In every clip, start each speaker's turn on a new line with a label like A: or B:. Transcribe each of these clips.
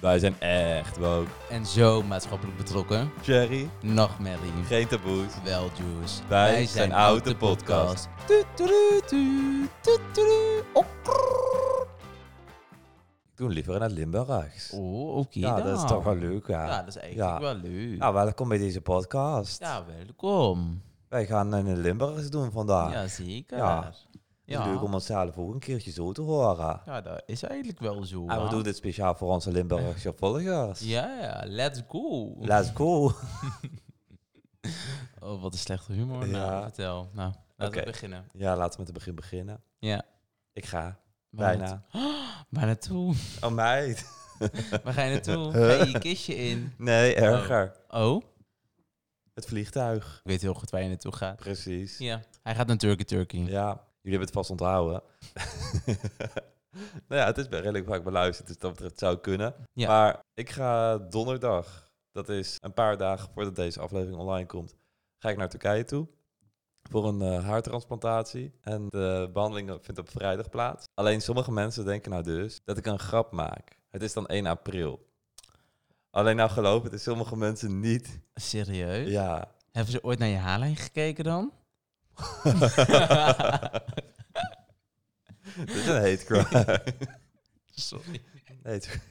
A: Wij zijn echt woke.
B: En zo maatschappelijk betrokken.
A: Jerry,
B: Nachtmerrie.
A: geen taboes.
B: Wel, Juice.
A: Wij zijn Oud, de podcast.
B: Tuturutu, tuturutu, okkrrr.
A: Ik doe liever naar Limburgs.
B: Oh, oké
A: ja,
B: dan.
A: dat is toch wel leuk, hè?
B: Ja, dat is eigenlijk
A: Ja.
B: wel leuk.
A: Nou, welkom bij deze podcast.
B: Ja, welkom.
A: Wij gaan een Limburgs doen vandaag.
B: Ja, zeker.
A: Ja. Het is
B: Ja.
A: Leuk om onszelf ook een keertje zo te horen.
B: Ja, dat is eigenlijk wel zo.
A: En
B: hè?
A: we doen dit speciaal voor onze Limburgse volgers.
B: Ja, ja, let's go.
A: Let's go.
B: Oh, wat een slechte humor.
A: Ja.
B: Nou, vertel. Nou, laten
A: Oké.
B: we beginnen.
A: Ja, laten we met het begin beginnen.
B: Ja.
A: Ik ga.
B: Waar
A: Bijna.
B: na- Waar naartoe?
A: Oh, meid.
B: Waar ga je naartoe? Ga je je kistje in?
A: Nee, erger.
B: Oh,
A: Het vliegtuig.
B: ik weet heel goed waar je naartoe gaat.
A: Precies.
B: Ja, hij gaat naar Turkey Turkey.
A: Ja, jullie hebben het vast onthouden. nou ja, het is bij redelijk vaak beluisterd, dus dat betreft zou kunnen.
B: Ja.
A: Maar ik ga donderdag, dat is een paar dagen voordat deze aflevering online komt, ga ik naar Turkije toe. Voor een eh, haartransplantatie. En de behandeling vindt op vrijdag plaats. Alleen sommige mensen denken nou dus dat ik een grap maak. Het is dan 1 april. Alleen nou geloof het is sommige mensen niet.
B: Serieus?
A: Ja.
B: Hebben ze ooit naar je haarlijn gekeken dan?
A: Dit is een hate crime.
B: Sorry,
A: Hate crime.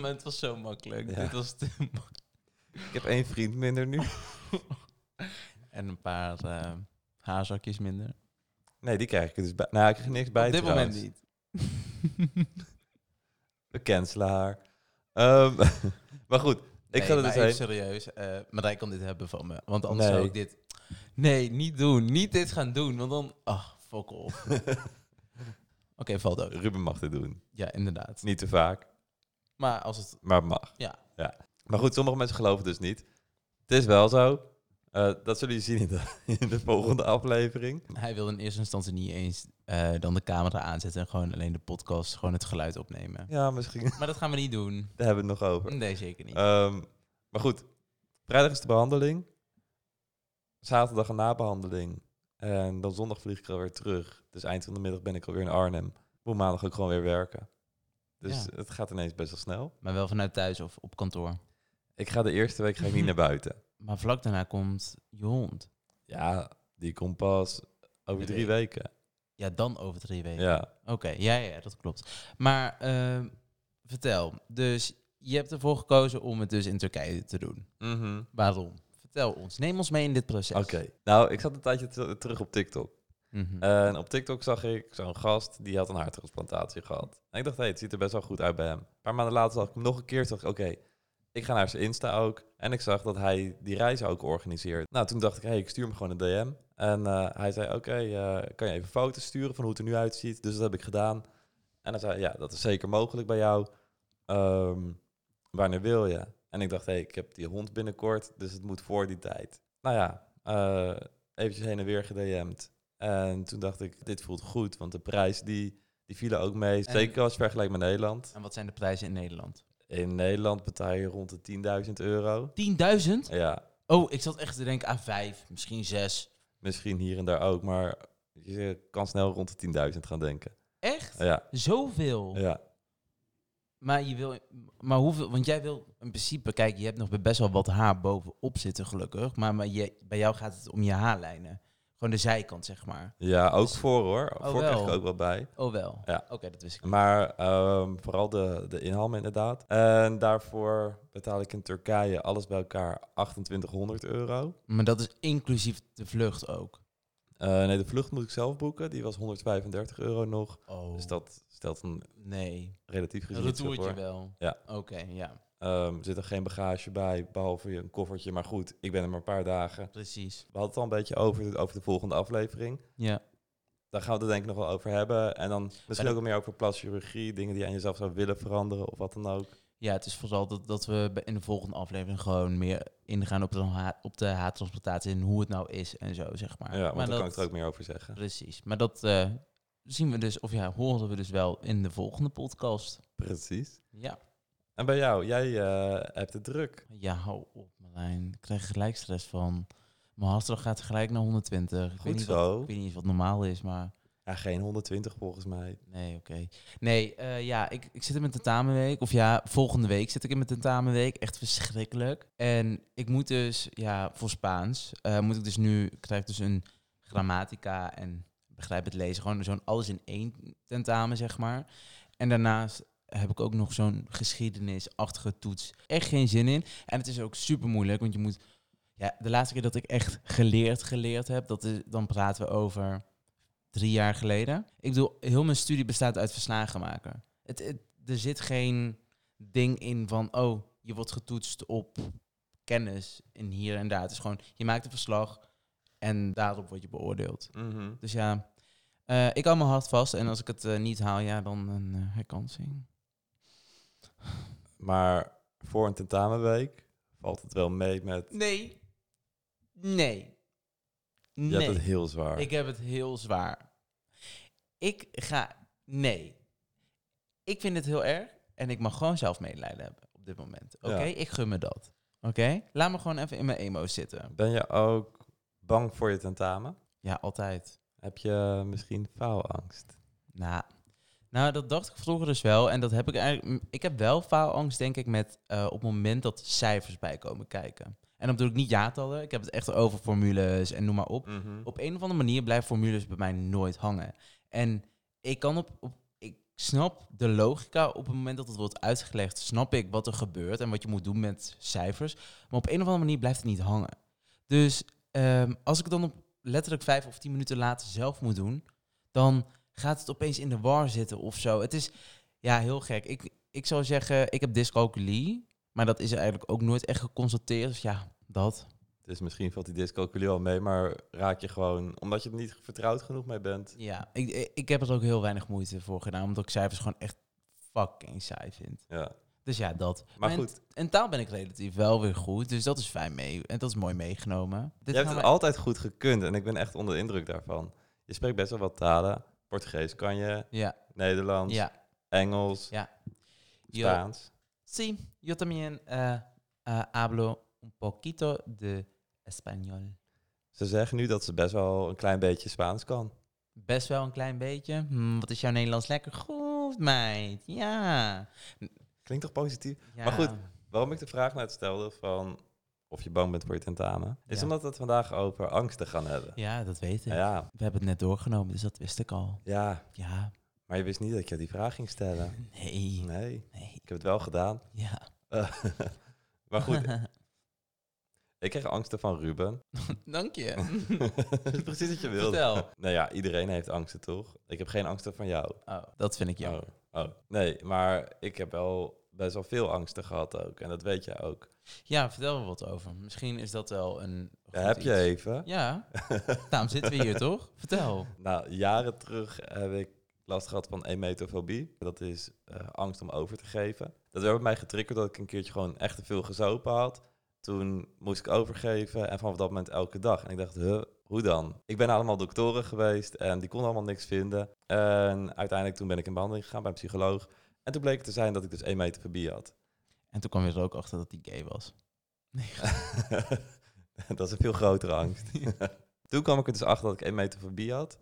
B: maar het was zo makkelijk.
A: Ja.
B: Dit was te makkelijk.
A: Ik heb één vriend minder nu.
B: En een paar eh, haarzakjes minder.
A: Nee, die krijg ik er dus bij. Nou, ik krijg er niks bij
B: Op dit
A: trouwens.
B: moment niet.
A: We cancelen haar. Ehm, maar goed, ik ga er
B: Nee, maar
A: dus
B: even
A: heen.
B: serieus. eh Marij kan dit hebben van me. Want anders
A: Nee.
B: zou ik dit... Nee, niet doen. Niet dit gaan doen. Want dan... Ach, fuck off. Oké, val dood.
A: Ruben mag dit doen.
B: Ja, inderdaad.
A: Niet te vaak,
B: Maar als het...
A: maar het mag.
B: Ja.
A: ja. Maar goed, sommige mensen geloven het dus niet. Het is wel zo. Eh, dat zullen jullie zien in de, in de volgende aflevering.
B: Hij wilde in eerste instantie niet eens eh, dan de camera aanzetten... en gewoon alleen de podcast, gewoon het geluid opnemen.
A: Ja, misschien.
B: Maar dat gaan we niet doen.
A: Daar hebben we het nog over.
B: Nee, zeker niet.
A: Ehm, maar goed, vrijdag is de behandeling. Zaterdag een nabehandeling. En dan zondag vlieg ik alweer terug. Dus eind van de middag ben ik alweer in Arnhem. Moet maandag ook gewoon weer werken. Dus
B: Ja.
A: het gaat ineens best wel snel.
B: Maar wel vanuit thuis of op kantoor.
A: Ik ga de eerste week ga ik niet naar buiten.
B: Maar vlak daarna komt je hond.
A: Ja, die komt pas over
B: Met
A: drie
B: één.
A: weken.
B: Ja, dan over drie weken.
A: Ja.
B: Oké, ja, ja, dat klopt. Maar ehm, vertel, dus je hebt ervoor gekozen om het dus in Turkije te doen.
A: Mhm.
B: Waarom? Vertel ons, neem ons mee in dit proces.
A: Oké. Eh. Nou, ik zat een tijdje te- terug op TikTok.
B: Mhm.
A: En op TikTok zag ik zo'n gast die had een harttransplantatie gehad. En ik dacht, hé, het ziet er best wel goed uit bij hem. Een paar maanden later zag ik hem nog een keer. Toen dacht ik, oké, ik ga naar zijn Insta ook. En ik zag dat hij die reis ook organiseert. Nou, toen dacht ik, hé, ik stuur hem gewoon een DM. En eh, hij zei, oké, eh, kan je even foto's sturen van hoe het er nu uitziet? Dus dat heb ik gedaan. En hij zei, ja, dat is zeker mogelijk bij jou. Ehm, wanneer wil je? En ik dacht, hé, ik heb die hond binnenkort, dus het moet voor die tijd. Nou ja, eh eventjes heen en weer gedM'd. En toen dacht ik, dit voelt goed, want de prijs die, die vielen ook mee.
B: En-
A: Zeker als je vergelijkt met Nederland.
B: En wat zijn de prijzen in Nederland?
A: In Nederland betaal je rond de 10.000 euro.
B: 10.000?
A: Ja,
B: Oh, ik zat echt te denken aan vijf, misschien zes.
A: misschien hier en daar ook, maar je kan snel rond de 10.000 gaan denken.
B: Echt?
A: Ja,
B: Zoveel.
A: ja.
B: Maar, je wil, maar hoeveel, want jij wil in principe, kijk, je hebt nog best wel wat haar bovenop zitten, gelukkig. Maar, maar je, bij jou gaat het om je haarlijnen. Gewoon de zijkant, zeg maar.
A: ja ook voor hoor. voor krijg ik
B: Oh, wel.
A: ook wel bij.
B: Oh, wel.
A: Ja.
B: Oké, dat wist ik. niet.
A: Maar ehm, vooral de, de inham inderdaad. En daarvoor betaal ik in Turkije alles bij elkaar 2800 euro.
B: Maar dat is inclusief de vlucht ook.
A: Eh, nee, de vlucht moet ik zelf boeken. Die was 135 euro nog.
B: Oh,
A: Dus dat stelt een
B: nee.
A: relatief gezien
B: Een
A: iets op,
B: retourtje
A: hoor.
B: wel.
A: Ja.
B: Oké, ja.
A: Ehm, zit er geen bagage bij, behalve je een koffertje. Maar goed, ik ben er maar een paar dagen.
B: Precies.
A: We hadden het al een beetje over de, over de volgende aflevering.
B: Ja.
A: Daar gaan we het er denk ik nog wel over hebben. En dan misschien
B: dat-
A: ook wel meer over plasticchirurgie. Dingen die je aan jezelf zou willen veranderen of wat dan ook.
B: Ja, het is vooral dat, dat we bij- in de volgende aflevering gewoon meer ingaan op de, ha- op de haartransplantatie en hoe het nou is en zo, zeg maar.
A: Ja, want
B: maar
A: daar kan ik er ook meer over zeggen.
B: Precies. Maar dat eh, zien we dus, of ja, horen we dus wel in de volgende podcast.
A: Precies.
B: Ja.
A: En bij jou, jij eh, hebt het druk.
B: Ja, hou op Marlijn. Ik krijg er gelijk stress van. Mijn hartslag gaat gelijk naar 120. Ik weet
A: Goed
B: niet wat-
A: zo.
B: ik weet niet eens wat normaal is, maar
A: Ja, geen 120 volgens mij.
B: Nee, oké. Nee, eh, ja, ik, ik zit in mijn tentamenweek. Of ja, volgende week zit ik in mijn tentamenweek. Echt verschrikkelijk. En ik moet dus, ja, voor Spaans, eh, moet ik dus nu, ik krijg dus een grammatica en begrijp het lezen. Gewoon zo'n alles in één tentamen, zeg maar. En daarnaast heb ik ook nog zo'n geschiedenisachtige toets. Echt geen zin in. En het is ook super moeilijk, want je moet... Ja, de laatste keer dat ik echt geleerd geleerd heb, dat is, dan praten we over drie jaar geleden. Ik bedoel, heel mijn studie bestaat uit verslagenmaker. Het, het, er zit geen ding in van, oh, je wordt getoetst op kennis in hier en daar. Het is gewoon, je maakt een verslag en daarop word je beoordeeld. Dus ja, eh, ik hou mijn hart vast en als ik het eh, niet haal, ja, dan een eh, herkansing.
A: Maar voor een tentamenweek valt het wel mee met...
B: Nee. Nee.
A: Je
B: Nee.
A: hebt het heel zwaar.
B: Ik heb het heel zwaar. Ik ga. Nee. Ik vind het heel erg. En ik mag gewoon zelf medelijden hebben op dit moment. Oké,
A: Ja.
B: ik gun me dat. Oké, laat me gewoon even in mijn emo's zitten.
A: Ben je ook bang voor je tentamen?
B: Ja, altijd.
A: Heb je misschien faalangst?
B: Nou, nou, dat dacht ik vroeger dus wel. En dat heb ik eigenlijk. Ik heb wel faalangst, denk ik, met eh, op het moment dat cijfers bij komen kijken. En dan bedoel ik niet jaartallen. Ik heb het echt over formules en noem maar op. op een of andere manier blijven formules bij mij nooit hangen. En ik kan op, op ik snap de logica op het moment dat het wordt uitgelegd, snap ik wat er gebeurt en wat je moet doen met cijfers. Maar op een of andere manier blijft het niet hangen. Dus ehm, als ik het dan op letterlijk vijf of tien minuten later zelf moet doen, dan gaat het opeens in de war zitten of zo. Het is ja heel gek. Ik, ik zou zeggen, ik heb dyscalculie, maar dat is eigenlijk ook nooit echt geconstateerd. Dus ja, dat.
A: Dus misschien valt die dyscalculie al mee, maar raak je gewoon... Omdat je er niet vertrouwd genoeg mee bent.
B: Ja, ik- ik, ik heb er ook heel weinig moeite voor gedaan, omdat ik cijfers gewoon echt fucking saai vind.
A: Ja.
B: Dus ja, dat.
A: Maar
B: en,
A: goed,
B: En taal ben ik relatief wel weer goed, dus dat is fijn mee. En dat is mooi meegenomen. Dit
A: je hebt
B: gaan
A: het
B: we-
A: altijd goed gekund en ik ben echt onder de indruk daarvan. Je spreekt best wel wat talen. Portugees kan je,
B: Ja,
A: Nederlands,
B: ja.
A: Engels,
B: Ja. Yo,
A: Spaans.
B: Sí, yo también eh, eh, hablo un poquito de español.
A: Ze zeggen nu dat ze best wel een klein beetje Spaans kan.
B: Best wel een klein beetje. Hm, wat is jouw Nederlands lekker goed, meid? Ja.
A: Klinkt toch positief?
B: ja.
A: Maar goed, Waarom ik de vraag net stelde van of je bang bent voor je tentamen, is
B: Ja.
A: omdat we het vandaag over angsten gaan hebben.
B: Ja, dat weet ik.
A: Ja. ja,
B: We hebben het net doorgenomen, dus dat wist ik al.
A: ja,
B: Ja,
A: maar je wist niet dat ik je die vraag ging stellen.
B: nee.
A: Nee, ik
B: Nee,
A: heb het wel gedaan.
B: ja.
A: Eh, maar goed, ik kreeg angsten van Ruben.
B: Dank je.
A: Precies wat je wilde.
B: Vertel.
A: Nou ja, iedereen heeft angsten toch? Ik heb geen angsten van jou.
B: Oh, dat vind ik jammer.
A: Oh, oh. Nee, maar ik heb wel best wel veel angsten gehad ook. En dat weet jij ook.
B: Ja, vertel me wat over. Misschien is dat wel een.
A: Daar
B: goed
A: heb je
B: iets.
A: even.
B: Ja. Daarom zitten we hier toch? Vertel.
A: Nou, jaren terug heb ik last gehad van emetofobie. Dat is eh, angst om over te geven. Dat werd bij mij getriggerd dat ik een keertje gewoon echt te veel gezopen had. Toen moest ik overgeven en vanaf dat moment elke dag. En ik dacht, huh, hoe dan? Ik ben naar allemaal doktoren geweest en die konden allemaal niks vinden. En uiteindelijk toen ben ik in behandeling gegaan bij een psycholoog. En toen bleek het te zijn dat ik dus emetofobie had.
B: En toen kwam je er ook achter dat hij gay was.
A: dat is een veel grotere angst. toen kwam ik er dus achter dat ik emetofobie had.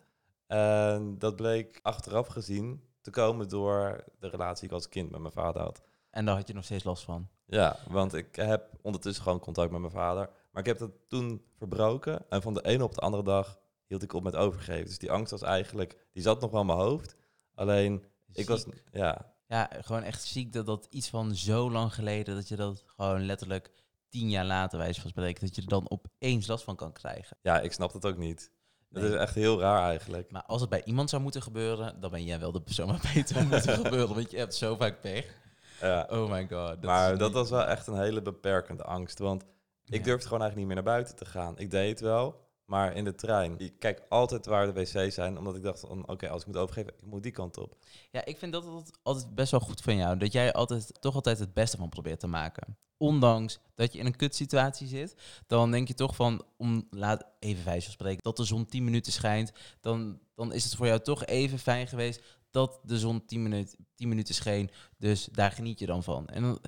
A: En dat bleek achteraf gezien te komen door de relatie die ik als kind met mijn vader had.
B: En daar had je nog steeds last van.
A: Ja, want ik heb ondertussen gewoon contact met mijn vader. Maar ik heb dat toen verbroken. En van de ene op de andere dag hield ik op met overgeven. Dus die angst was eigenlijk... Die zat nog wel in mijn hoofd. Alleen, ik was...
B: Ziek.
A: Ja,
B: Ja, gewoon echt ziek dat dat iets van zo lang geleden. dat je dat gewoon letterlijk tien jaar later, wijs van spreken. dat je er dan opeens last van kan krijgen.
A: ja, ik snap dat ook niet. Dat
B: Nee.
A: is echt heel raar eigenlijk.
B: Maar als het bij iemand zou moeten gebeuren. dan ben jij wel de persoon waarbij het zou moeten gebeuren. Want je hebt zo vaak pech.
A: Ja.
B: Oh my god.
A: maar
B: is
A: dat
B: niet-
A: was wel echt een hele beperkende angst. Want ik
B: Ja.
A: durfde gewoon eigenlijk niet meer naar buiten te gaan. Ik deed het wel, maar in de trein. Ik kijk altijd waar de wc's zijn, omdat ik dacht van... Oké, als ik moet overgeven, ik moet die kant op.
B: Ja, ik vind dat altijd- altijd best wel goed van jou. Dat jij altijd, toch altijd het beste van probeert te maken. Ondanks dat je in een kutsituatie zit, dan denk je toch van, om, laat even wijs van spreken, dat de zon 10 minuten schijnt. Dan, dan is het voor jou toch even fijn geweest dat de zon 10, minuut, 10 minuten scheen. Dus daar geniet je dan van. En dan,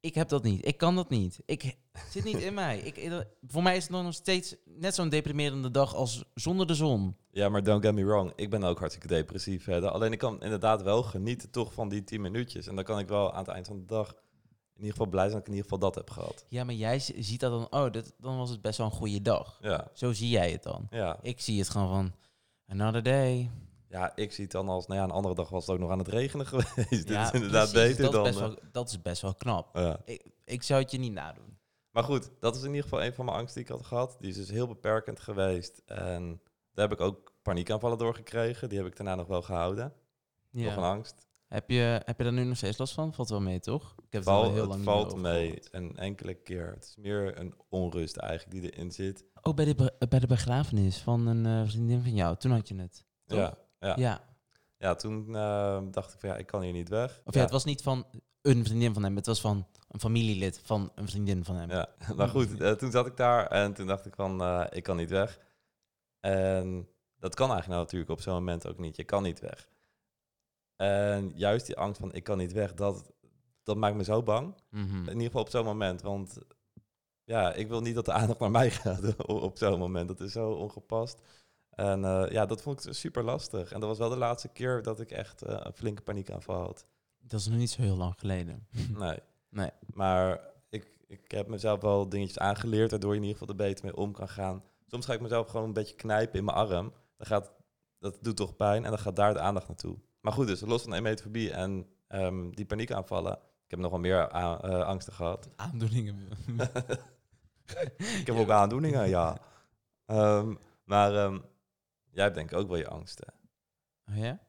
B: Ik heb dat niet. Ik kan dat niet. Ik zit niet in mij. Ik, eh, voor mij is het nog steeds net zo'n deprimerende dag als zonder de zon.
A: Ja, maar don't get me wrong. Ik ben ook hartstikke depressief. Hè. Alleen ik kan inderdaad wel genieten toch van die 10 minuutjes. En dan kan ik wel aan het eind van de dag in ieder geval blij zijn dat ik in ieder geval dat heb gehad.
B: Ja, maar jij z- ziet dat dan. Oh, dat, dan was het best wel een goede dag.
A: Ja,
B: Zo zie jij het dan.
A: ja.
B: Ik zie het gewoon van. Another day.
A: ja ik zie het dan als... Nou ja, een andere dag was het ook nog aan het regenen geweest. Dit
B: Ja,
A: is inderdaad
B: precies.
A: beter
B: dat
A: dan...
B: Is best
A: eh,
B: wel, dat is best wel knap.
A: ja.
B: Ik zou het je niet nadoen.
A: Maar goed, dat is in ieder geval een van mijn angsten die ik had gehad. Die is dus heel beperkend geweest. En daar heb ik ook paniekaanvallen door gekregen. Die heb ik daarna nog wel gehouden.
B: Ja.
A: Nog een angst.
B: Heb je, heb je daar nu nog steeds last van? Valt wel mee, toch? Ik heb
A: Val,
B: al heel
A: het
B: lang niet meer
A: valt
B: over
A: mee
B: gehoord.
A: een enkele keer. Het is meer een onrust eigenlijk die erin zit.
B: Oh, bij de, be- bij de begrafenis van een eh, vriendin van jou. Toen had je het. Toch?
A: Ja, ja.
B: Ja.
A: ja. toen eh, dacht ik van ja, ik kan hier niet weg.
B: Of ja.
A: ja,
B: het was niet van een vriendin van hem. Het was van een familielid van een vriendin van hem.
A: Ja, maar goed,
B: Mm.
A: eh, toen zat ik daar en toen dacht ik van eh, ik kan niet weg. En dat kan eigenlijk nou natuurlijk op zo'n moment ook niet. Je kan niet weg. En juist die angst van ik kan niet weg, dat, dat maakt me zo bang.
B: Mhm.
A: In ieder geval op zo'n moment. Want ja, ik wil niet dat de aandacht naar mij gaat op op zo'n moment. Dat is zo ongepast. En eh, ja, dat vond ik super lastig. En dat was wel de laatste keer dat ik echt eh, een flinke paniekaanval had.
B: Dat is nog niet zo heel lang geleden.
A: Nee.
B: Nee.
A: Maar ik, ik heb mezelf wel dingetjes aangeleerd, waardoor je in ieder geval er beter mee om kan gaan. Soms ga ik mezelf gewoon een beetje knijpen in mijn arm. Dan gaat, dat doet toch pijn en dan gaat daar de aandacht naartoe. Maar goed, dus los van de emetofobie en ehm, die paniekaanvallen. Ik heb nogal meer a- eh, angsten gehad.
B: Aandoeningen.
A: Ik heb ook aandoeningen, ja. Ehm, maar ehm, jij hebt denk ik ook wel je angsten.
B: Oh, ja?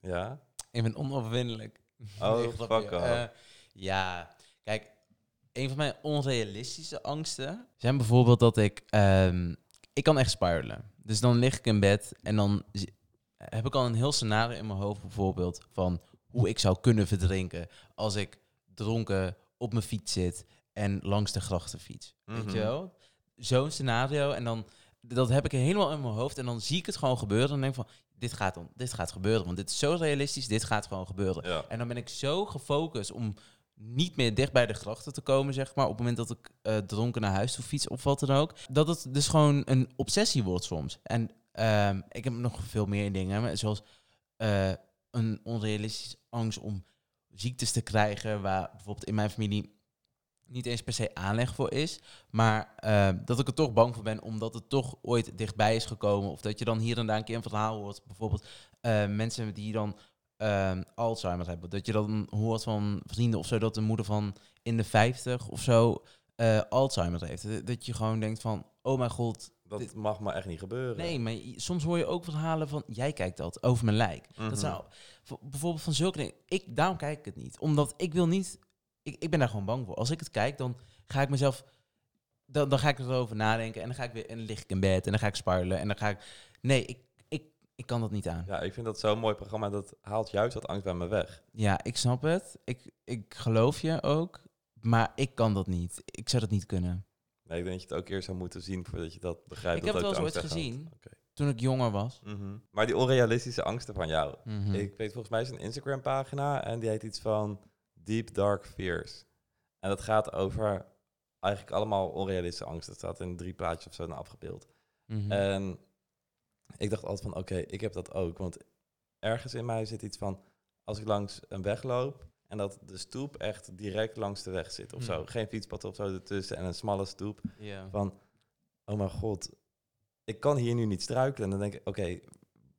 A: Ja?
B: Ik ben onoverwinnelijk.
A: Oh,
B: Nee, grapje.
A: fuck off.
B: Eh, ja, kijk, een van mijn onrealistische angsten zijn bijvoorbeeld dat ik... ehm, ik kan echt spiralen. Dus dan lig ik in bed en dan zi- heb ik al een heel scenario in mijn hoofd bijvoorbeeld... van hoe ik zou kunnen verdrinken als ik dronken op mijn fiets zit en langs de grachten fiets. Weet je
A: Mhm.
B: wel? Zo'n scenario en dan... Dat heb ik helemaal in mijn hoofd en dan zie ik het gewoon gebeuren. En denk van, dit gaat, dan, dit gaat gebeuren. Want dit is zo realistisch, dit gaat gewoon gebeuren.
A: Ja.
B: En dan ben ik zo gefocust om niet meer dicht bij de grachten te komen, zeg maar. Op het moment dat ik eh, dronken naar huis toe fiets of wat dan ook. Dat het dus gewoon een obsessie wordt soms. En ehm, ik heb nog veel meer dingen, maar zoals eh, een onrealistische angst om ziektes te krijgen... waar bijvoorbeeld in mijn familie niet eens per se aanleg voor is. Maar eh, dat ik er toch bang voor ben, omdat het toch ooit dichtbij is gekomen. Of dat je dan hier en daar een keer een verhaal hoort. Bijvoorbeeld eh, mensen die dan ehm, Alzheimer hebben. Dat je dan hoort van vrienden of zo dat de moeder van in de 50 of zo eh, Alzheimer heeft. Dat je gewoon denkt van, oh mijn god.
A: Dat
B: Dit-
A: mag maar echt niet gebeuren.
B: Nee, maar i- soms hoor je ook verhalen van, jij kijkt dat, over mijn lijk.
A: Mhm.
B: Dat zou, voor- bijvoorbeeld van zulke dingen. Ik, daarom kijk ik het niet. Omdat ik wil niet... Ik, ik ben daar gewoon bang voor. Als ik het kijk, dan ga ik mezelf... Dan, dan ga ik erover nadenken. En dan, ga ik weer, en dan lig ik in bed. En dan ga ik sparrelen. En dan ga ik... Nee, ik, ik, ik kan dat niet aan. Ja,
A: Ja, ik vind dat zo'n mooi programma. Dat haalt juist dat angst bij me weg.
B: ik snap het. Ik, ik geloof je ook. Maar ik kan dat niet. Ik zou dat niet kunnen.
A: Nee, ik denk dat je het ook eerst zou moeten zien voordat je dat begrijpt.
B: Ik
A: dat
B: heb het
A: ook
B: wel eens
A: de
B: ooit
A: angst weghaalt.
B: gezien.
A: Oké.
B: Toen ik jonger was.
A: Mhm. Maar die onrealistische angsten van jou.
B: Mhm.
A: Ik weet volgens mij is een Instagram pagina en die heet iets van Deep Dark Fears. En dat gaat over eigenlijk allemaal onrealistische angsten. Het staat in drie plaatjes of zo nou afgebeeld.
B: Mhm.
A: En ik dacht altijd van, oké, ik heb dat ook. Want ergens in mij zit iets van, als ik langs een weg loop... en dat de stoep echt direct langs de weg zit of zo.
B: Hmm.
A: Geen fietspad of zo ertussen en een smalle stoep.
B: ja.
A: Van, oh mijn god, ik kan hier nu niet struikelen. En dan denk ik, oké,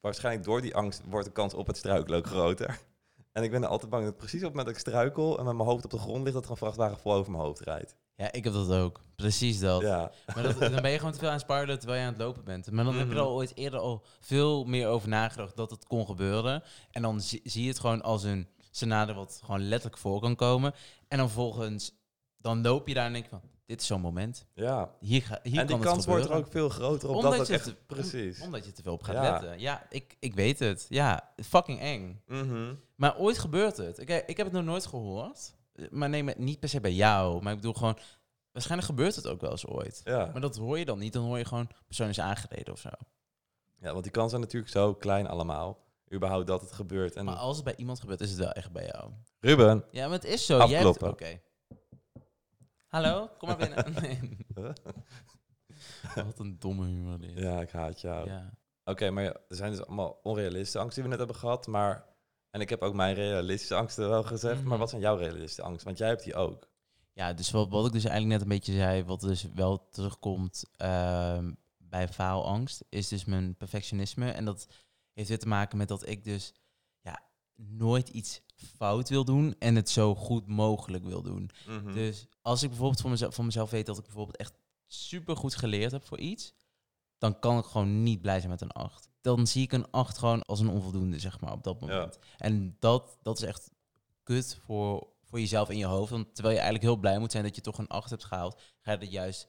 A: waarschijnlijk door die angst... wordt de kans op het struikelen ook groter. En ik ben er altijd bang dat precies op het moment dat ik struikel... en met mijn hoofd op de grond ligt... dat er een vrachtwagen vol over mijn hoofd rijdt.
B: ja, ik heb dat ook. Precies dat.
A: Ja,
B: Maar dat, dan ben je gewoon te veel aan het sparren terwijl je aan het lopen bent. Maar dan heb je er
A: Mhm.
B: al ooit eerder al veel meer over nagedacht dat het kon gebeuren. En dan zie, zie je het gewoon als een scenario wat gewoon letterlijk voor kan komen. En dan vervolgens, dan loop je daar en denk je van, dit is zo'n moment.
A: ja.
B: Hier, ga, hier
A: en
B: kan
A: die
B: het
A: kans wordt er
B: gebeuren.
A: ook veel groter op
B: Omdat
A: dat het
B: je
A: echt...
B: het- om-
A: precies.
B: Omdat je te veel op gaat
A: Ja.
B: letten. Ja, ik, ik weet het. Ja, fucking eng.
A: Mhm.
B: Maar ooit gebeurt het. Ik, ik heb het nog nooit gehoord. Maar neem het niet per se bij jou. Maar ik bedoel gewoon, waarschijnlijk gebeurt het ook wel eens ooit.
A: Ja.
B: Maar dat hoor je dan niet. Dan hoor je gewoon, persoon is aangereden of zo.
A: ja, want die kansen zijn natuurlijk zo klein allemaal. Überhaupt dat het gebeurt. En
B: Maar als het bij iemand gebeurt, is het wel echt bij jou.
A: Ruben,
B: Ja, maar het is zo. Jij hebt-
A: Afkloppen.
B: Oké. Hallo, kom maar binnen. Nee. Wat een domme humor dit.
A: Ja, ik haat jou.
B: Ja.
A: Oké, maar ja, er zijn dus allemaal onrealistische angsten die we net hebben gehad. Maar, en ik heb ook mijn realistische angsten wel gezegd.
B: Mhm.
A: Maar wat zijn jouw realistische angsten? Want jij hebt die ook.
B: Ja, dus wat, wat ik dus eigenlijk net een beetje zei, wat dus wel terugkomt ehm, bij faalangst, is dus mijn perfectionisme. En dat heeft weer te maken met dat ik dus ja, nooit iets fout wil doen en het zo goed mogelijk wil doen.
A: Mhm.
B: Dus als ik bijvoorbeeld voor mezelf, voor mezelf weet dat ik bijvoorbeeld echt super goed geleerd heb voor iets, dan kan ik gewoon niet blij zijn met een 8. Dan zie ik een 8 gewoon als een onvoldoende, zeg maar, op dat moment. En dat, dat is echt kut voor, voor jezelf in je hoofd. Want terwijl je eigenlijk heel blij moet zijn dat je toch een 8 hebt gehaald, ga je er juist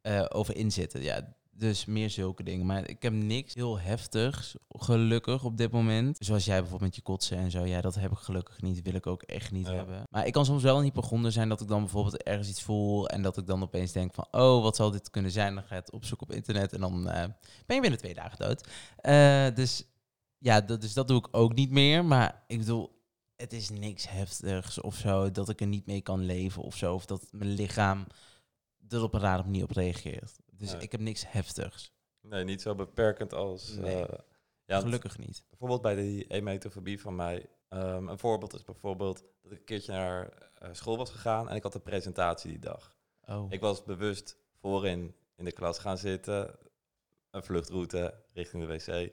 B: eh, over inzitten. Ja, dus meer zulke dingen. Maar ik heb niks heel heftigs, gelukkig op dit moment. Zoals jij bijvoorbeeld met je kotsen en zo. Ja, dat heb ik gelukkig niet. Wil ik ook echt niet
A: Ja.
B: hebben. Maar ik kan soms wel een hypochonder zijn dat ik dan bijvoorbeeld ergens iets voel. En dat ik dan opeens denk van, oh, wat zal dit kunnen zijn? Dan ga je het opzoeken op internet en dan eh, ben je binnen twee dagen dood. Eh, dus ja, dat, dus dat doe ik ook niet meer. Maar ik bedoel, het is niks heftigs of zo. Dat ik er niet mee kan leven of zo. Of dat mijn lichaam er dus op een rare manier op reageert. Dus
A: Nee.
B: ik heb niks heftigs.
A: Nee, niet zo beperkend als...
B: Nee.
A: eh, ja, want
B: Gelukkig niet.
A: bijvoorbeeld bij die emetofobie van mij. ehm, een voorbeeld is bijvoorbeeld dat ik een keertje naar eh, school was gegaan en ik had een presentatie die dag.
B: Oh.
A: Ik was bewust voorin in de klas gaan zitten. Een vluchtroute richting de wc.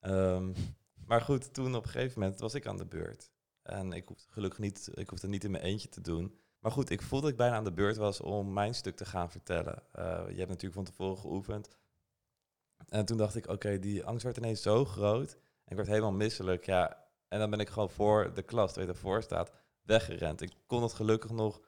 A: Ehm, maar goed, toen op een gegeven moment was ik aan de beurt. En ik hoefde gelukkig niet, ik hoefde niet in mijn eentje te doen. Maar goed, ik voelde dat ik bijna aan de beurt was om mijn stuk te gaan vertellen. Eh, je hebt natuurlijk van tevoren geoefend. En toen dacht ik, oké, die angst werd ineens zo groot. En ik werd helemaal misselijk, ja. En dan ben ik gewoon voor de klas, terwijl je ervoor staat, weggerend. Ik kon het gelukkig nog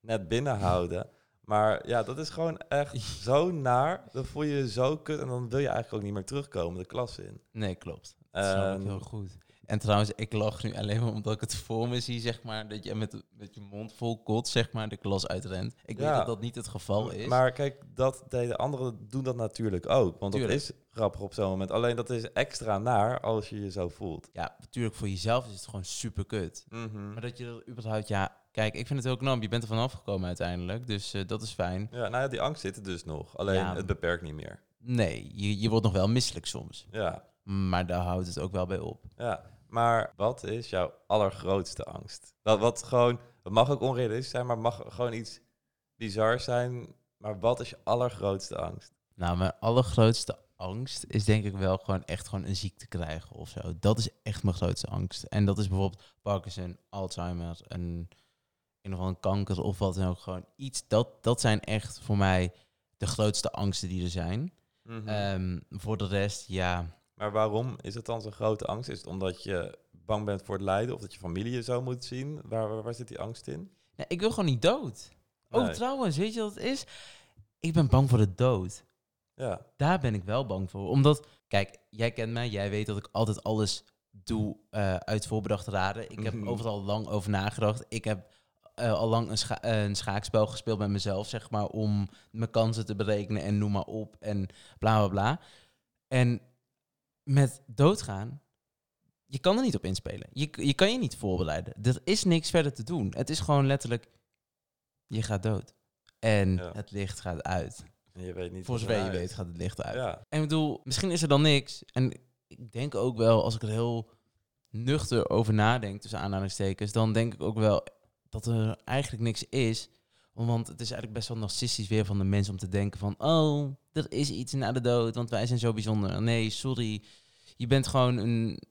A: net binnenhouden. Maar ja, dat is gewoon echt zo naar. Dan voel je je zo kut en dan wil je eigenlijk ook niet meer terugkomen de klas in.
B: Nee, klopt. Dat snap ik
A: Ehm,
B: heel goed. En trouwens, ik lach nu alleen maar omdat ik het voor me zie, zeg maar, dat je met, met je mond vol kot, zeg maar, de klas uitrent. Ik
A: Ja.
B: weet dat dat niet het geval is.
A: Maar kijk, dat deden anderen doen dat natuurlijk ook. Want
B: Tuurlijk.
A: dat is grappig op zo'n moment. Alleen dat is extra naar als je je zo voelt.
B: ja, natuurlijk voor jezelf is het gewoon super kut. Maar dat je er überhaupt, ja, kijk, ik vind het heel knap. Je bent er vanaf gekomen uiteindelijk, dus eh, dat is fijn.
A: Ja, nou ja, die angst zit er dus nog. Alleen
B: Ja.
A: het beperkt niet meer.
B: Nee, je, je wordt nog wel misselijk soms.
A: Ja,
B: Maar daar houdt het ook wel bij op.
A: ja. Maar wat is jouw allergrootste angst? Wat, wat gewoon, het mag ook onrealistisch zijn, maar het mag gewoon iets bizar zijn. Maar wat is je allergrootste angst?
B: Nou, mijn allergrootste angst is denk ik wel gewoon echt gewoon een ziekte krijgen of zo. Dat is echt mijn grootste angst. En dat is bijvoorbeeld Parkinson, Alzheimer, een, in ieder geval een kanker of wat dan ook. Gewoon iets, dat, dat zijn echt voor mij de grootste angsten die er zijn.
A: Mhm.
B: Ehm, voor de rest, ja,
A: Maar waarom is het dan zo'n grote angst? Is het omdat je bang bent voor het lijden of dat je familie je zo moet zien? Waar, waar, waar zit die angst in?
B: nee, ik wil gewoon niet dood. Oh,
A: Nee.
B: trouwens, weet je wat het is? Ik ben bang voor de dood.
A: Ja.
B: Daar ben ik wel bang voor. Omdat, kijk, jij kent mij, jij weet dat ik altijd alles doe eh, uit voorbedachte raden. Ik heb
A: Mhm.
B: overal lang over nagedacht. Ik heb eh, al lang een, scha- eh, een schaakspel gespeeld met mezelf, zeg maar, om mijn kansen te berekenen en noem maar op en bla bla bla. En met doodgaan, je kan er niet op inspelen. Je, je kan je niet voorbereiden. Er is niks verder te doen. Het is gewoon letterlijk, je gaat dood. En
A: Ja.
B: het licht gaat uit.
A: En je weet niet.
B: Voor
A: wat
B: zover je
A: eruit.
B: weet gaat het licht uit.
A: Ja.
B: En ik bedoel, misschien is er dan niks. En ik denk ook wel, als ik er heel nuchter over nadenk, tussen aanhalingstekens, dan denk ik ook wel dat er eigenlijk niks is. Want het is eigenlijk best wel narcistisch weer van de mens om te denken van, oh, er is iets na de dood, want wij zijn zo bijzonder. Nee, sorry. Je bent gewoon een,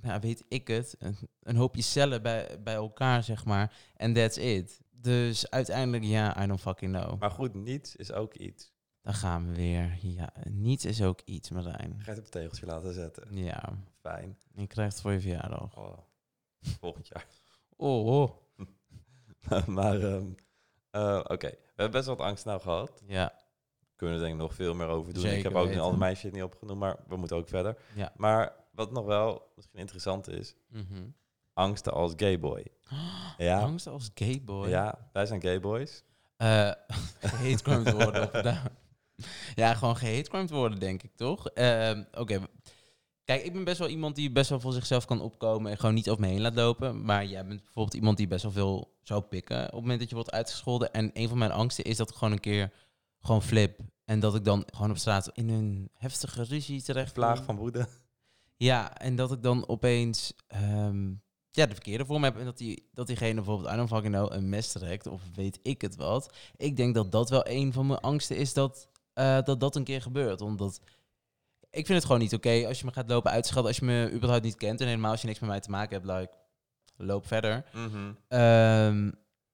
B: ja, weet ik het, een, een hoopje cellen bij, bij elkaar, zeg maar. En that's it. Dus uiteindelijk, ja, I don't fucking know.
A: Maar goed, niets is ook iets.
B: Dan gaan we weer. Ja, niets is ook iets, Marijn.
A: Je gaat het op een tegeltje laten zetten.
B: Ja,
A: Fijn.
B: je krijgt het voor je verjaardag.
A: Oh. Volgend jaar.
B: Oh,
A: maar ehm, eh, oké, we hebben best wat angst nou gehad.
B: Ja,
A: Kunnen we denk ik nog veel meer over doen. ik
B: Zeker
A: heb ook
B: weten.
A: al mijn shit niet opgenoemd, maar we moeten ook verder.
B: Ja.
A: Maar wat nog wel misschien interessant is,
B: Mhm.
A: angsten als gayboy. Ja.
B: angst als gay boy.
A: Ja, wij zijn gayboys.
B: Eh, gehatecrimed worden. Op, nou. ja, gewoon gehatecrimed worden, denk ik, toch? Ehm, Oké, Kijk, ik ben best wel iemand die best wel voor zichzelf kan opkomen en gewoon niet over me heen laat lopen. Maar jij bent bijvoorbeeld iemand die best wel veel zou pikken op het moment dat je wordt uitgescholden. En een van mijn angsten is dat ik gewoon een keer gewoon flip. En dat ik dan gewoon op straat in een heftige ruzie terecht
A: Plaag
B: kom.
A: van woede.
B: Ja, en dat ik dan opeens ehm, ja, de verkeerde vorm heb. En dat, die, dat diegene bijvoorbeeld, I don't fucking know, een mes trekt. Of weet ik het wat. Ik denk dat dat wel een van mijn angsten is dat eh, dat, dat een keer gebeurt. Omdat ik vind het gewoon niet oké als je me gaat lopen uitschelden. Als je me überhaupt niet kent. En helemaal als je niks met mij te maken hebt, like, loop verder.
A: Mhm.
B: Ehm,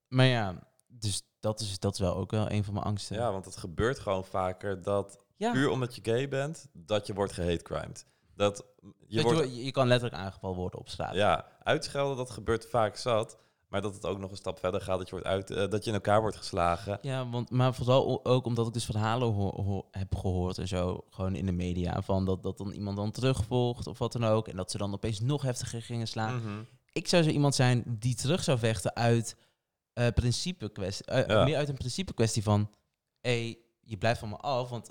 B: maar ja, dus dat is, dat is wel ook wel een van mijn angsten.
A: Ja, want het gebeurt gewoon vaker dat
B: Ja,
A: puur omdat je gay bent, dat je wordt gehatecrimed. Dat je
B: dat
A: wordt
B: je, je kan letterlijk aangevallen worden op straat.
A: Ja, uitschelden, dat gebeurt vaak zat. Maar dat het ook nog een stap verder gaat, dat je, wordt uit, eh, dat je in elkaar wordt geslagen.
B: Ja, want, maar vooral o- ook omdat ik dus verhalen ho- ho- heb gehoord en zo, gewoon in de media, van dat, dat dan iemand dan terugvolgt of wat dan ook. En dat ze dan opeens nog heftiger gingen slaan.
A: Mhm.
B: Ik zou zo iemand zijn die terug zou vechten uit, eh, principe kwestie, eh,
A: Ja.
B: meer uit een principe kwestie van, hé, je blijft van me af, want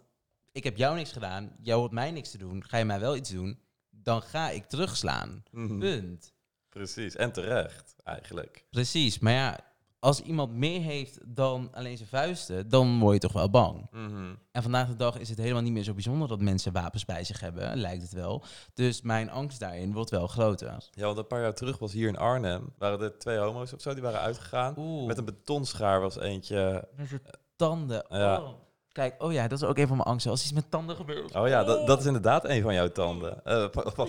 B: ik heb jou niks gedaan, jou hoort mij niks te doen, ga je mij wel iets doen, dan ga ik terugslaan.
A: Mhm.
B: Punt.
A: Precies, en terecht eigenlijk.
B: Precies, maar ja, als iemand meer heeft dan alleen zijn vuisten, dan word je toch wel bang.
A: Mhm.
B: En vandaag de dag is het helemaal niet meer zo bijzonder dat mensen wapens bij zich hebben, lijkt het wel. Dus mijn angst daarin wordt wel groter.
A: Ja, want een paar jaar terug was hier in Arnhem, waren er twee homo's of zo, die waren uitgegaan.
B: Oeh,
A: Met een betonschaar was eentje.
B: met zijn tanden.
A: Ja.
B: Oh. Kijk, oh ja, dat is ook een van mijn angsten. Als iets met tanden gebeurt.
A: Oh ja, dat, dat is inderdaad een van jouw tanden. Eh, pa- pa-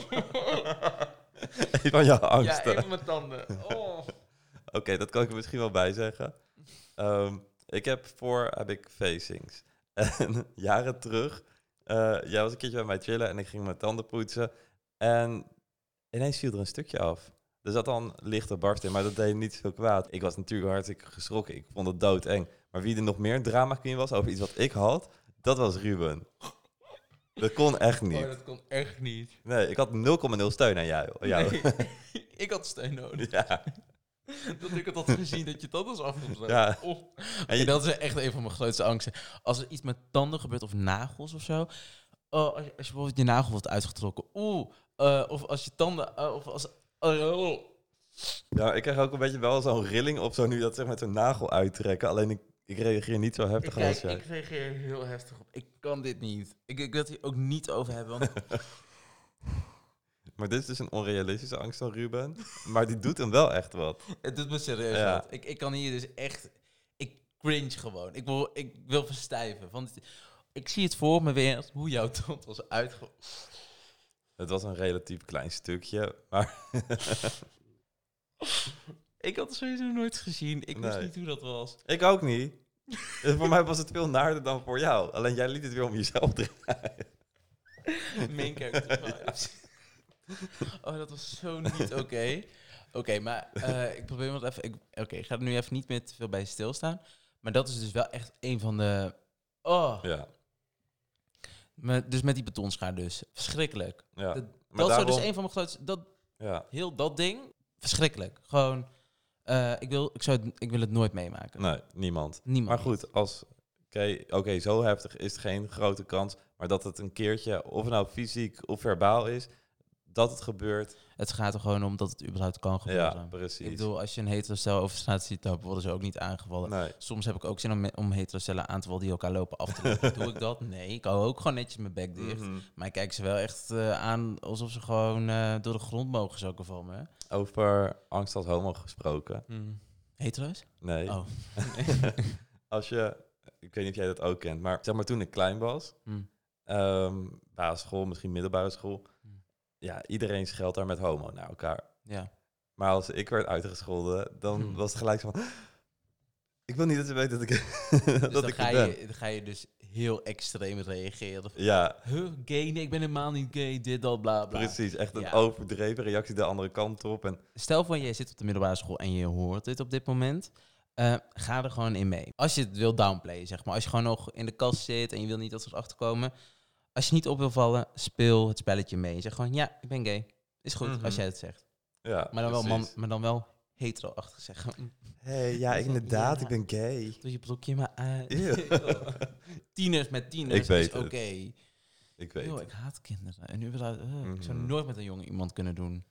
A: een van jouw
B: Ja,
A: angsten.
B: een van mijn tanden. Oh.
A: Oké, dat kan ik er misschien wel bij zeggen. Ehm, ik heb voor heb ik facings. En jaren terug, eh, jij was een keertje bij mij chillen en ik ging mijn tanden poetsen. En ineens viel er een stukje af. Er zat dan een lichte barst in, maar dat deed niet zo kwaad. Ik was natuurlijk hartstikke geschrokken. Ik vond het doodeng. Maar wie er nog meer drama queen was over iets wat ik had, dat was Ruben. Dat kon echt
B: Oh,
A: niet.
B: dat kon echt niet.
A: Nee, ik had 0,0 steun aan jou. jou.
B: Nee, ik had steun nodig.
A: Ja.
B: Dat ik het had gezien dat je tanden is afgebroken.
A: Ja.
B: Oh.
A: En je-
B: En dat is echt een van mijn grootste angsten. Als er iets met tanden gebeurt of nagels of zo. Oh, als, je, als je bijvoorbeeld je nagel wordt uitgetrokken. Oeh. eh, of als je tanden. eh, of als. oh, oh.
A: Ja, ik krijg ook een beetje wel zo'n rilling of zo nu dat zeg met zo'n nagel uittrekken. Alleen ik, ik reageer niet zo
B: Ik,
A: heftig
B: kijk,
A: als jij.
B: ik reageer heel heftig op. Ik kan dit niet. Ik, ik wil het hier ook niet over hebben.
A: Maar
B: Want
A: dit is dus een onrealistische angst van Ruben. maar die doet hem wel echt wat.
B: het doet me serieus
A: Ja.
B: wat. Ik, ik kan hier dus echt... Ik cringe gewoon. Ik wil, ik wil verstijven. Want ik zie het voor me weer hoe jouw tand was uitge...
A: Het was een relatief klein stukje. Maar
B: Ik had het sowieso nooit gezien. Ik wist
A: Nee.
B: niet hoe dat was.
A: ik ook niet. Dus voor mij was het veel naarder dan voor jou. Alleen jij liet het weer om jezelf draaien.
B: Main character vibes. Oh, dat was zo niet oké. Oké, maar eh, ik probeer nog even... ik- Oké, ik ga er nu even niet meer te veel bij stilstaan. Maar dat is dus wel echt een van de... Oh,
A: Ja,
B: me- dus met die betonschaar dus. Verschrikkelijk.
A: ja.
B: Dat-
A: maar
B: dat
A: daarom,
B: is dus een van mijn grootste... Dat,
A: Ja,
B: heel dat ding, verschrikkelijk. Gewoon, eh, ik, wil, ik, zou het, ik wil het nooit meemaken.
A: nee, niemand. Nou, Maar
B: Niemand.
A: goed, als... Oké, oké, zo heftig is het geen grote kans. Maar dat het een keertje, of het nou fysiek of verbaal is, dat het gebeurt.
B: Het gaat er gewoon om dat het überhaupt kan gebeuren.
A: Ja, precies.
B: ik bedoel, als je een heterostel over straat ziet lopen, worden ze ook niet aangevallen.
A: Nee.
B: Soms heb ik ook zin om, me- om heterocellen aan te vallen die elkaar lopen af te lopen. Doe ik dat? Nee, ik hou ook gewoon netjes mijn bek dicht.
A: Mhm.
B: Maar ik kijk ze wel echt eh, aan alsof ze gewoon eh, door de grond mogen zakken van me.
A: Over angst als homo gesproken.
B: Hetero's?
A: Mhm. Nee.
B: Oh.
A: Als je, ik weet niet of jij dat ook kent, maar zeg maar toen ik klein was,
B: Hmm.
A: ehm basisschool, misschien middelbare school.
B: Hmm.
A: Ja, iedereen scheldt daar met homo naar elkaar.
B: Ja.
A: Maar als ik werd uitgescholden, dan
B: Hmm.
A: was het gelijk zo van... Ik wil niet dat ze weten dat ik,
B: Dus
A: dat
B: dan
A: ik
B: ga,
A: het ben.
B: je, dan ga je dus heel extreem reageren.
A: Ja,
B: Huh, gay? Nee, ik ben helemaal niet gay. Dit, dat, bla, bla.
A: precies. Echt een
B: Ja.
A: overdreven reactie de andere kant op. En
B: Stel van jij zit op de middelbare school en je hoort dit op dit moment. eh, ga er gewoon in mee. Als je het wil downplayen, zeg maar. Als je gewoon nog in de kast zit en je wil niet dat soort achterkomen. Als je niet op wil vallen, speel het spelletje mee. Zeg gewoon, ja, ik ben gay. Is goed,
A: Mhm.
B: als jij het zegt.
A: ja,
B: Maar dan wel, man,
A: precies.
B: maar dan wel hetero-achtig Mm, zeggen.
A: hey, ja, inderdaad, ik ben gay.
B: Doe je broekje maar aan.
A: Ew.
B: Tieners met tieners
A: Ik weet
B: is oké.
A: het. Ik weet.
B: Yo,
A: het.
B: ik haat kinderen. En nu überhaupt, eh, ik zou
A: Mhm.
B: nooit met een jongen iemand kunnen doen.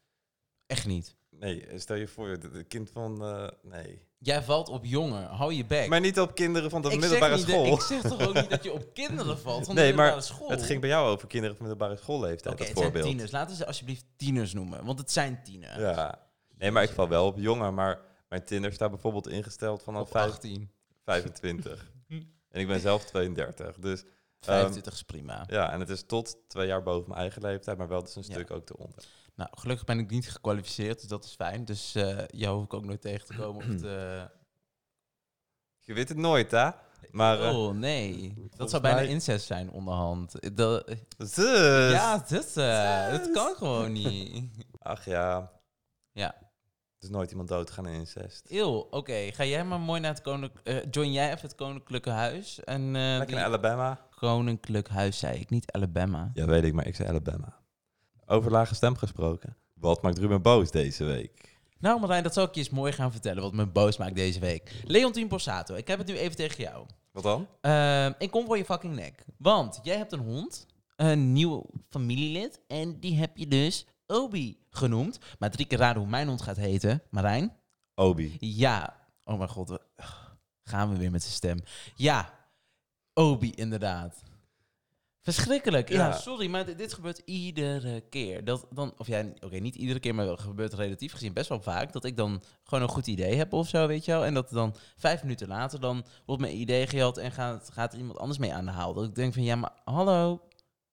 B: Echt niet.
A: Nee, stel je voor, het kind van... eh, nee.
B: Jij valt op jongen. Hou je bek.
A: Maar niet op kinderen van de
B: ik, zeg
A: middelbare
B: niet dat-
A: school.
B: ik zeg toch ook niet dat je op kinderen valt van de
A: Nee, maar
B: middelbare school?
A: Het ging bij jou over kinderen van middelbare schoolleeftijd,
B: Oké,
A: dat
B: het zijn
A: voorbeeld.
B: tieners. Laten ze alsjeblieft tieners noemen. Want het zijn tieners.
A: Ja. Nee, maar ik val wel op jonger, maar mijn Tinder staat bijvoorbeeld ingesteld vanaf
B: Op
A: vijf- ehm,
B: 18.
A: 25. en ik ben zelf 32, dus
B: 25 is prima.
A: ja, en het is tot twee jaar boven mijn eigen leeftijd, maar wel dus een
B: Ja.
A: stuk ook te onder.
B: Nou, gelukkig ben ik niet gekwalificeerd, dus dat is fijn. Dus eh, jou hoef ik ook nooit tegen te komen. Of te...
A: Je weet het nooit, hè? Maar eh,
B: oh, nee. Dat
A: volgens
B: zou bijna
A: mij- Dus-
B: incest zijn onderhand. Dat,
A: zus.
B: ja, dit, eh,
A: Zus.
B: dat kan gewoon niet.
A: Ach ja.
B: Ja.
A: Er is nooit iemand doodgaan in incest.
B: Eeuw, oké. Ga jij maar mooi naar het koninklijk... eh, join jij even het koninklijke huis. En, eh,
A: Lekker in
B: die-
A: Alabama.
B: koninklijk huis, zei ik. Niet Alabama.
A: Ja, weet ik, maar ik zei Alabama. Over lage stem gesproken. Wat maakt Ruben boos deze week?
B: Nou Marijn, dat zal ik je eens mooi gaan vertellen. Wat me boos maakt deze week. Leontien Borsato, ik heb het nu even tegen jou.
A: Wat dan?
B: Ehm, ik kom voor je fucking nek. Want jij hebt een hond, een nieuw familielid. En die heb je dus Obi genoemd. Maar drie keer raden hoe mijn hond gaat heten. Marijn?
A: Obi.
B: Ja. Oh mijn god. we- Gaan we weer met zijn stem. Ja. Obi, inderdaad. Verschrikkelijk. Ja,
A: Ja.
B: sorry, maar dit, dit gebeurt iedere keer. Dat dan, of ja, oké, niet iedere keer, maar wel gebeurt relatief gezien best wel vaak. Dat ik dan gewoon een goed idee heb of zo, weet je wel. En dat dan vijf minuten later dan wordt mijn idee gejat en gaat, gaat er iemand anders mee aan de haal. Dat ik denk van, ja, maar hallo,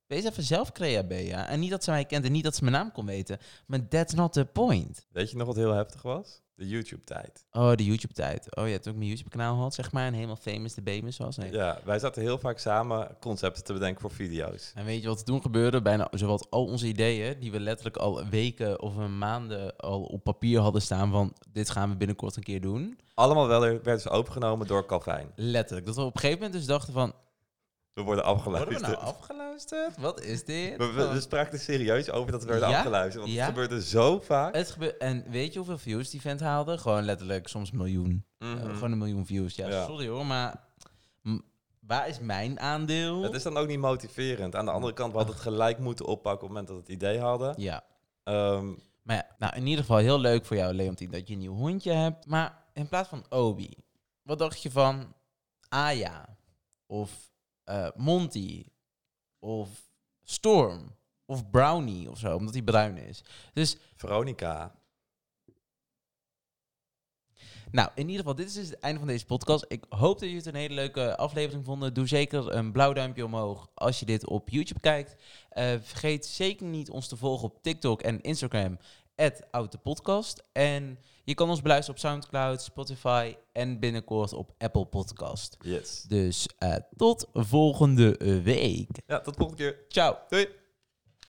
B: wees even zelf crea, Bea. En niet dat ze mij kent en niet dat ze mijn naam kon weten. Maar that's not the point.
A: Weet je nog wat heel heftig was? De YouTube-tijd.
B: Oh, de YouTube-tijd. Oh ja, toen ik mijn YouTube-kanaal had, zeg maar. En helemaal famous de Bemis was. Nee.
A: Ja, wij zaten heel vaak samen concepten te bedenken voor video's.
B: En weet je wat er toen gebeurde? Bijna zowat al onze ideeën, die we letterlijk al weken of een maanden al op papier hadden staan van... dit gaan we binnenkort een keer doen.
A: Allemaal wel werden ze opgenomen door Calvijn.
B: Letterlijk. Dat we op een gegeven moment dus dachten van...
A: We worden
B: worden we
A: afgeluisterd.
B: nou afgeluisterd? Wat is dit?
A: We, we- we spraken er serieus over dat we werden
B: Ja?
A: afgeluisterd. Want
B: Ja? Eh,
A: het gebeurde zo vaak.
B: Het gebe- en weet je hoeveel views die vent haalde? Gewoon letterlijk soms een miljoen.
A: Mhm.
B: Eh, gewoon een miljoen views. Ja,
A: Ja.
B: sorry hoor, maar... m- waar is mijn aandeel?
A: Het is dan ook niet motiverend. Aan de andere kant, we hadden het gelijk moeten oppakken op het moment dat we het idee hadden.
B: Ja.
A: Ehm,
B: Maar ja, nou, in ieder geval heel leuk voor jou, Leontien, dat je een nieuw hondje hebt. Maar in plaats van Obi, wat dacht je van Aya? Of eh, Monty? Of Storm? Of Brownie of zo, omdat hij bruin is. Dus,
A: Veronica.
B: nou, in ieder geval, dit is dus het einde van deze podcast. Ik hoop dat jullie het een hele leuke aflevering vonden. Doe zeker een blauw duimpje omhoog als je dit op YouTube kijkt. Eh, vergeet zeker niet ons te volgen op TikTok en Instagram, @oudepodcast. En je kan ons beluisteren op Soundcloud, Spotify en binnenkort op Apple Podcast.
A: Yes.
B: Dus eh, tot volgende week.
A: Ja, tot volgende keer.
B: Ciao.
A: Doei.